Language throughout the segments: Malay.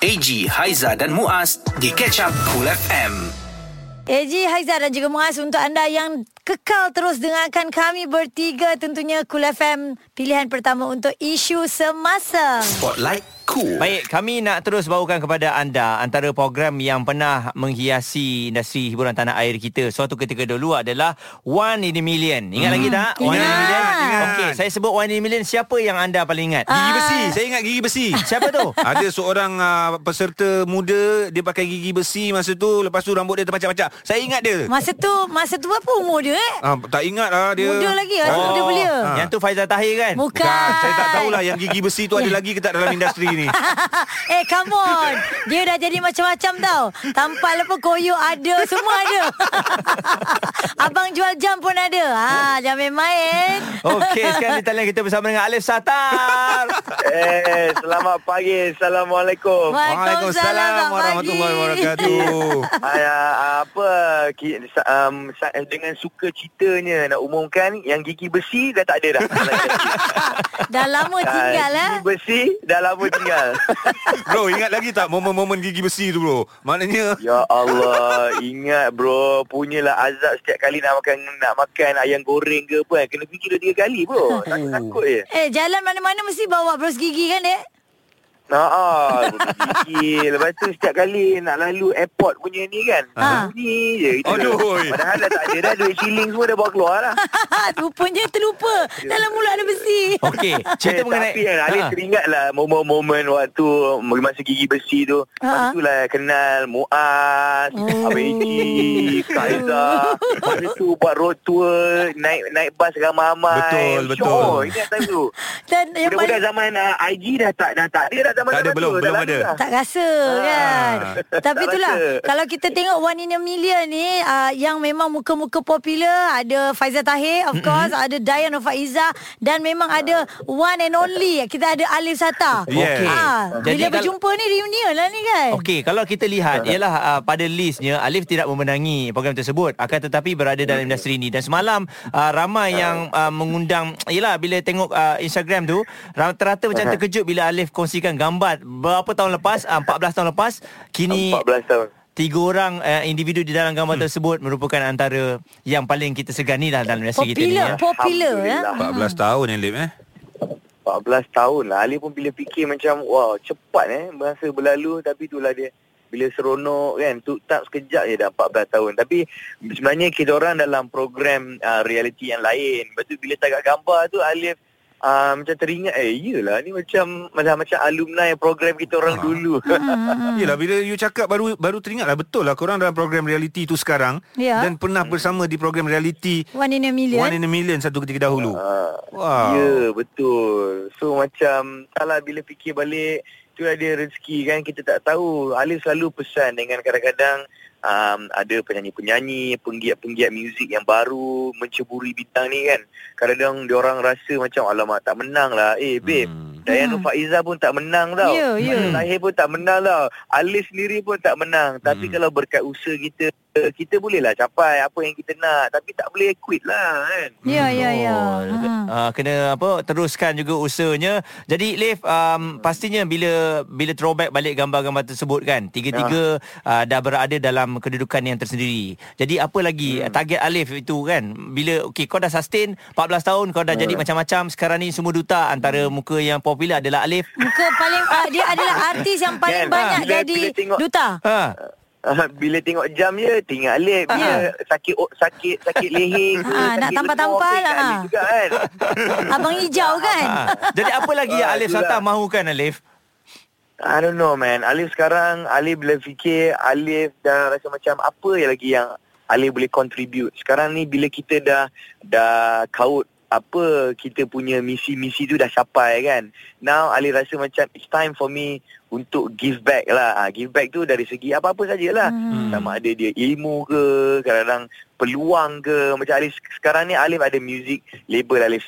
AG, Haiza dan Muaz di Catch Up Cool FM. AJ Haizat dan juga Muaz untuk anda yang kekal terus dengarkan kami bertiga tentunya Cool FM pilihan pertama untuk isu semasa. Spotlight Cool. Baik, kami nak terus bawakan kepada anda antara program yang pernah menghiasi industri hiburan tanah air kita suatu ketika dulu adalah One in a Million. Ingat hmm. lagi tak? One in a Ingat. Million. Ingat. Okey, saya sebut One in a Million, siapa yang anda paling ingat? Ah. Gigi besi. Saya ingat gigi besi. Siapa tu? Ada seorang uh, peserta muda dia pakai gigi besi masa tu lepas tu rambut dia terpacak-pacak. Saya ingat dia. Masa tu masa tu apa umur dia eh? Ah, tak ingat lah dia. Muda lagi lah, sebab dia belia. ah. Oh, Yang tu Faizal Tahir kan? Bukan. Kan, saya tak tahulah yang gigi besi tu ada lagi ke tak dalam industri ni. eh come on Dia dah jadi macam-macam tau Tampal apa koyo ada Semua ada Abang jual jam pun ada ha, Jangan main-main Okey, sekarang di talian kita bersama dengan Alif Satar. Eh, selamat pagi. Assalamualaikum. Waalaikumsalam warahmatullahi wabarakatuh. Ay, ah, apa ki- sa- um, sa- dengan suka citanya nak umumkan yang gigi besi dah tak ada dah. Dah lama tinggal Ah, eh. Gigi besi dah lama tinggal. Bro, ingat lagi tak momen-momen gigi besi tu bro? Maknanya ya Allah, ingat bro, punyalah azab setiap kali nak makan nak makan ayam goreng ke apa kan. Kena fikir dua tiga kali bro. Takut-takut je. Eh jalan mana-mana mesti bawa berus gigi kan dek Ha ah, gigi. Lepas tu setiap kali nak lalu airport punya ni kan. Ha. Bunyi je gitu. Aduh. Padahal dah tak ada dah duit shilling semua dah bawa keluar lah. Ha, Rupanya terlupa Dalam mulut ada besi Okey, cerita eh, mengenai Tapi kan Alif Ha. teringat lah Momen-momen waktu Masa gigi besi tu Ha. Lepas tu lah kenal Muaz Oh. oh. Abang Eji Kaiza Lepas tu buat road tour Naik naik bas ramai-ramai Betul, betul. Syok, Ingat time tu Dan yang Mudah-mudahan paling zaman uh, IG dah tak Dah tak ada dah zaman Tak ada, zaman belum, tu, dah belum lama ada. dah. tak rasa kan Tapi Tak itulah rasa. Kalau kita tengok One in a Million ni uh, Yang memang muka-muka popular Ada Faizal Tahir of course Ada Dayan Faiza Dan memang ada One and only Kita ada Alif Sata Yes. ha, Jadi Bila kalau- berjumpa ni reunion lah ni kan Okey, kalau kita lihat ialah uh, pada listnya Alif tidak memenangi program tersebut akan tetapi berada dalam industri ini dan semalam uh, ramai yang uh, mengundang ialah bila tengok uh, Instagram tu ra- rata-rata macam terkejut bila Alif kongsikan gambar berapa tahun lepas uh, 14 tahun lepas kini 14 tahun tiga orang uh, individu di dalam gambar tersebut merupakan antara yang paling kita segani lah dalam industri kita ni Popular ya. Popular ya. Alhamdulillah. 14 tahun yang lip eh. 14 tahun lah Ali pun bila fikir macam Wow cepat eh Masa berlalu Tapi itulah dia Bila seronok kan tu tak sekejap je dah 14 tahun Tapi Sebenarnya kita orang dalam program uh, Reality yang lain Lepas tu bila tagak gambar tu Alif uh, Macam teringat Eh iyalah ni macam Macam, macam alumni program kita orang Ah. dulu Hmm. Yelah bila you cakap baru baru teringat lah betul lah korang dalam program reality tu sekarang Ya. dan pernah bersama di program reality One in a Million One in a Million satu ketika dahulu. Ah, Wow. Ya betul So macam Salah bila fikir balik Tu ada rezeki kan Kita tak tahu Alif selalu pesan Dengan kadang-kadang um, Ada penyanyi-penyanyi Penggiat-penggiat muzik yang baru Menceburi bidang ni kan Kadang-kadang diorang rasa macam Alamak tak menang lah Eh babe Hmm. hmm. Dayan Hmm. hmm. Faiza pun tak menang tau Ya, ya. Lahir pun tak menang tau Alif sendiri pun tak menang Tapi Hmm. kalau berkat usaha kita Kita bolehlah capai Apa yang kita nak Tapi tak boleh quit lah kan Ya ya ya Betul. Ha. Uh, kena apa teruskan juga usahanya. Jadi Leif um, pastinya bila bila throwback balik gambar-gambar tersebut kan tiga-tiga Ya. uh, dah berada dalam kedudukan yang tersendiri. Jadi apa lagi hmm. target Alif itu kan bila okey kau dah sustain 14 tahun kau Ya. dah jadi macam-macam sekarang ni semua duta antara Hmm. muka yang popular adalah Alif. Muka paling uh, Dia adalah artis yang paling Kan, banyak bila- jadi bila tengok- duta Ha. Ah, bila tengok jam ya, je tinggal Alif bila sakit oh, sakit sakit leher ke Ah, nak sakit tampal-tampal lengan, lah. Alif juga kan Abang hijau kan Ha. Jadi apa lagi yang Ah, Alif itulah. Sata mahukan Alif? I don't know man Alif sekarang Alif bila fikir Alif dah rasa macam apa yang lagi yang Alif boleh contribute sekarang ni bila kita dah dah kaut apa kita punya misi-misi tu dah capai kan now Alif rasa macam it's time for me untuk give back lah Ah, give back tu dari segi apa-apa sajalah Hmm. Sama ada dia ilmu ke Kadang-kadang peluang ke Macam Alif sekarang ni Alif ada music label Alif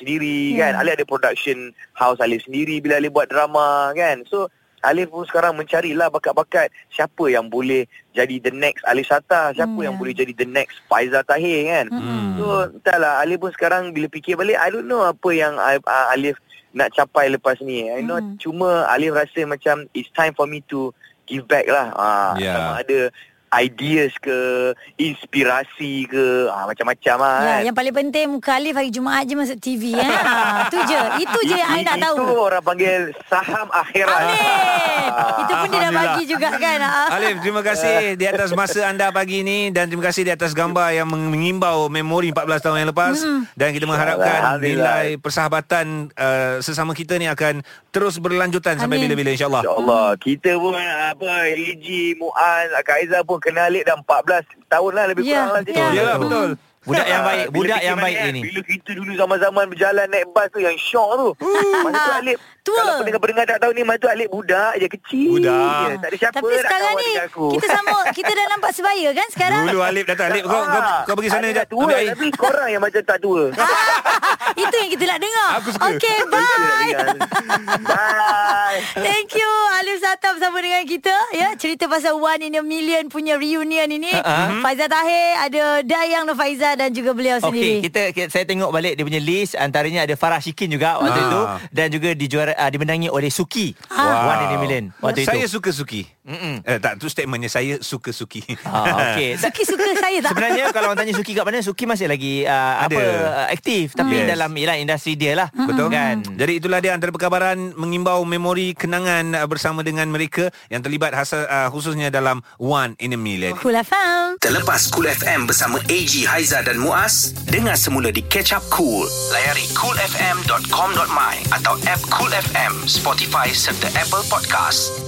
Ya. sendiri yeah. kan Alif ada production house Alif sendiri Bila Alif buat drama kan So Alif pun sekarang mencarilah bakat-bakat Siapa yang boleh jadi the next Alif Sata Siapa Hmm, yang ya. boleh jadi the next Faizal Tahir kan Hmm. So entahlah Alif pun sekarang bila fikir balik I don't know apa yang I- uh, Alif nak capai lepas ni I know Hmm. cuma Alif rasa macam It's time for me to give back lah. Ha, Ya. Sama ada ideas ke, inspirasi ke, ha, macam-macam lah. Ya, kan. yang paling penting muka Alif hari Jumaat je masuk TV eh. Ha, tu je. Itu je yang I nak Itu tahu. orang panggil saham akhirat. Ah. Alif. Itu pun dia dah Alhamdulillah. bagi juga kan. Ha. Alif, terima kasih di atas masa anda pagi ini dan terima kasih di atas gambar yang meng- mengimbau memori 14 tahun yang lepas Hmm. dan kita mengharapkan Alhamdulillah. nilai persahabatan uh, sesama kita ni akan terus berlanjutan sampai Amin. bila-bila insya-Allah. InsyaAllah Kita pun apa AG, Muaz, Kak Aizah pun kenal Lik dah 14 tahun lah Lebih Ya, kurang lah ya. Yalah, betul. Budak yang Ah, baik, bila budak fikir yang baik balik kan, ini. Bila kita dulu zaman-zaman berjalan naik bas tu Yang syok tu Masa tu Alip Tua. Kalau pendengar-pendengar tak tahu ni Masa tu Alip budak je Kecil Budak. je Tak ada siapa Tapi nak sekarang kawan ni dengan aku kita sama kita dah Ah. nampak sebaya kan sekarang? Dulu Alif datang Alif kau kau, kau pergi sana Alip jap. Ah, dah tua Ambil air. Tapi korang yang macam tak tua Itu yang kita nak dengar. Aku suka. Okay, bye. Bye Thank you Alif Satam bersama dengan kita ya cerita pasal One in a Million punya reunion ini. Uh-huh. Faizal Tahir, ada Dayang Nur Faiza dan juga beliau sendiri. Okey, kita, kita saya tengok balik dia punya list antaranya ada Farah Shikin juga waktu Ah. itu dan juga dijuara uh, dimenangi oleh Suki. Wow. One in a million waktu saya itu. suka Suki. Mm-mm. Eh, tak, tu statementnya saya suka Suki. Ah, okey. Tak- Suka-suka saya tak? Sebenarnya kalau orang tanya Suki kat mana Suki masih lagi uh, Ada. apa uh, aktif tapi Yes. dalam ialah industri dia lah Betul kan kan? Jadi itulah dia antara perkabaran mengimbau memori kenangan uh, bersama dengan mereka yang terlibat hasa, uh, khususnya dalam One in a Million. Cool FM. Terlepas Cool FM bersama AG, Haiza dan Muaz, dengar semula di Catch Up Cool. Layari coolfm.com.my atau app Cool FM, Spotify serta Apple Podcast.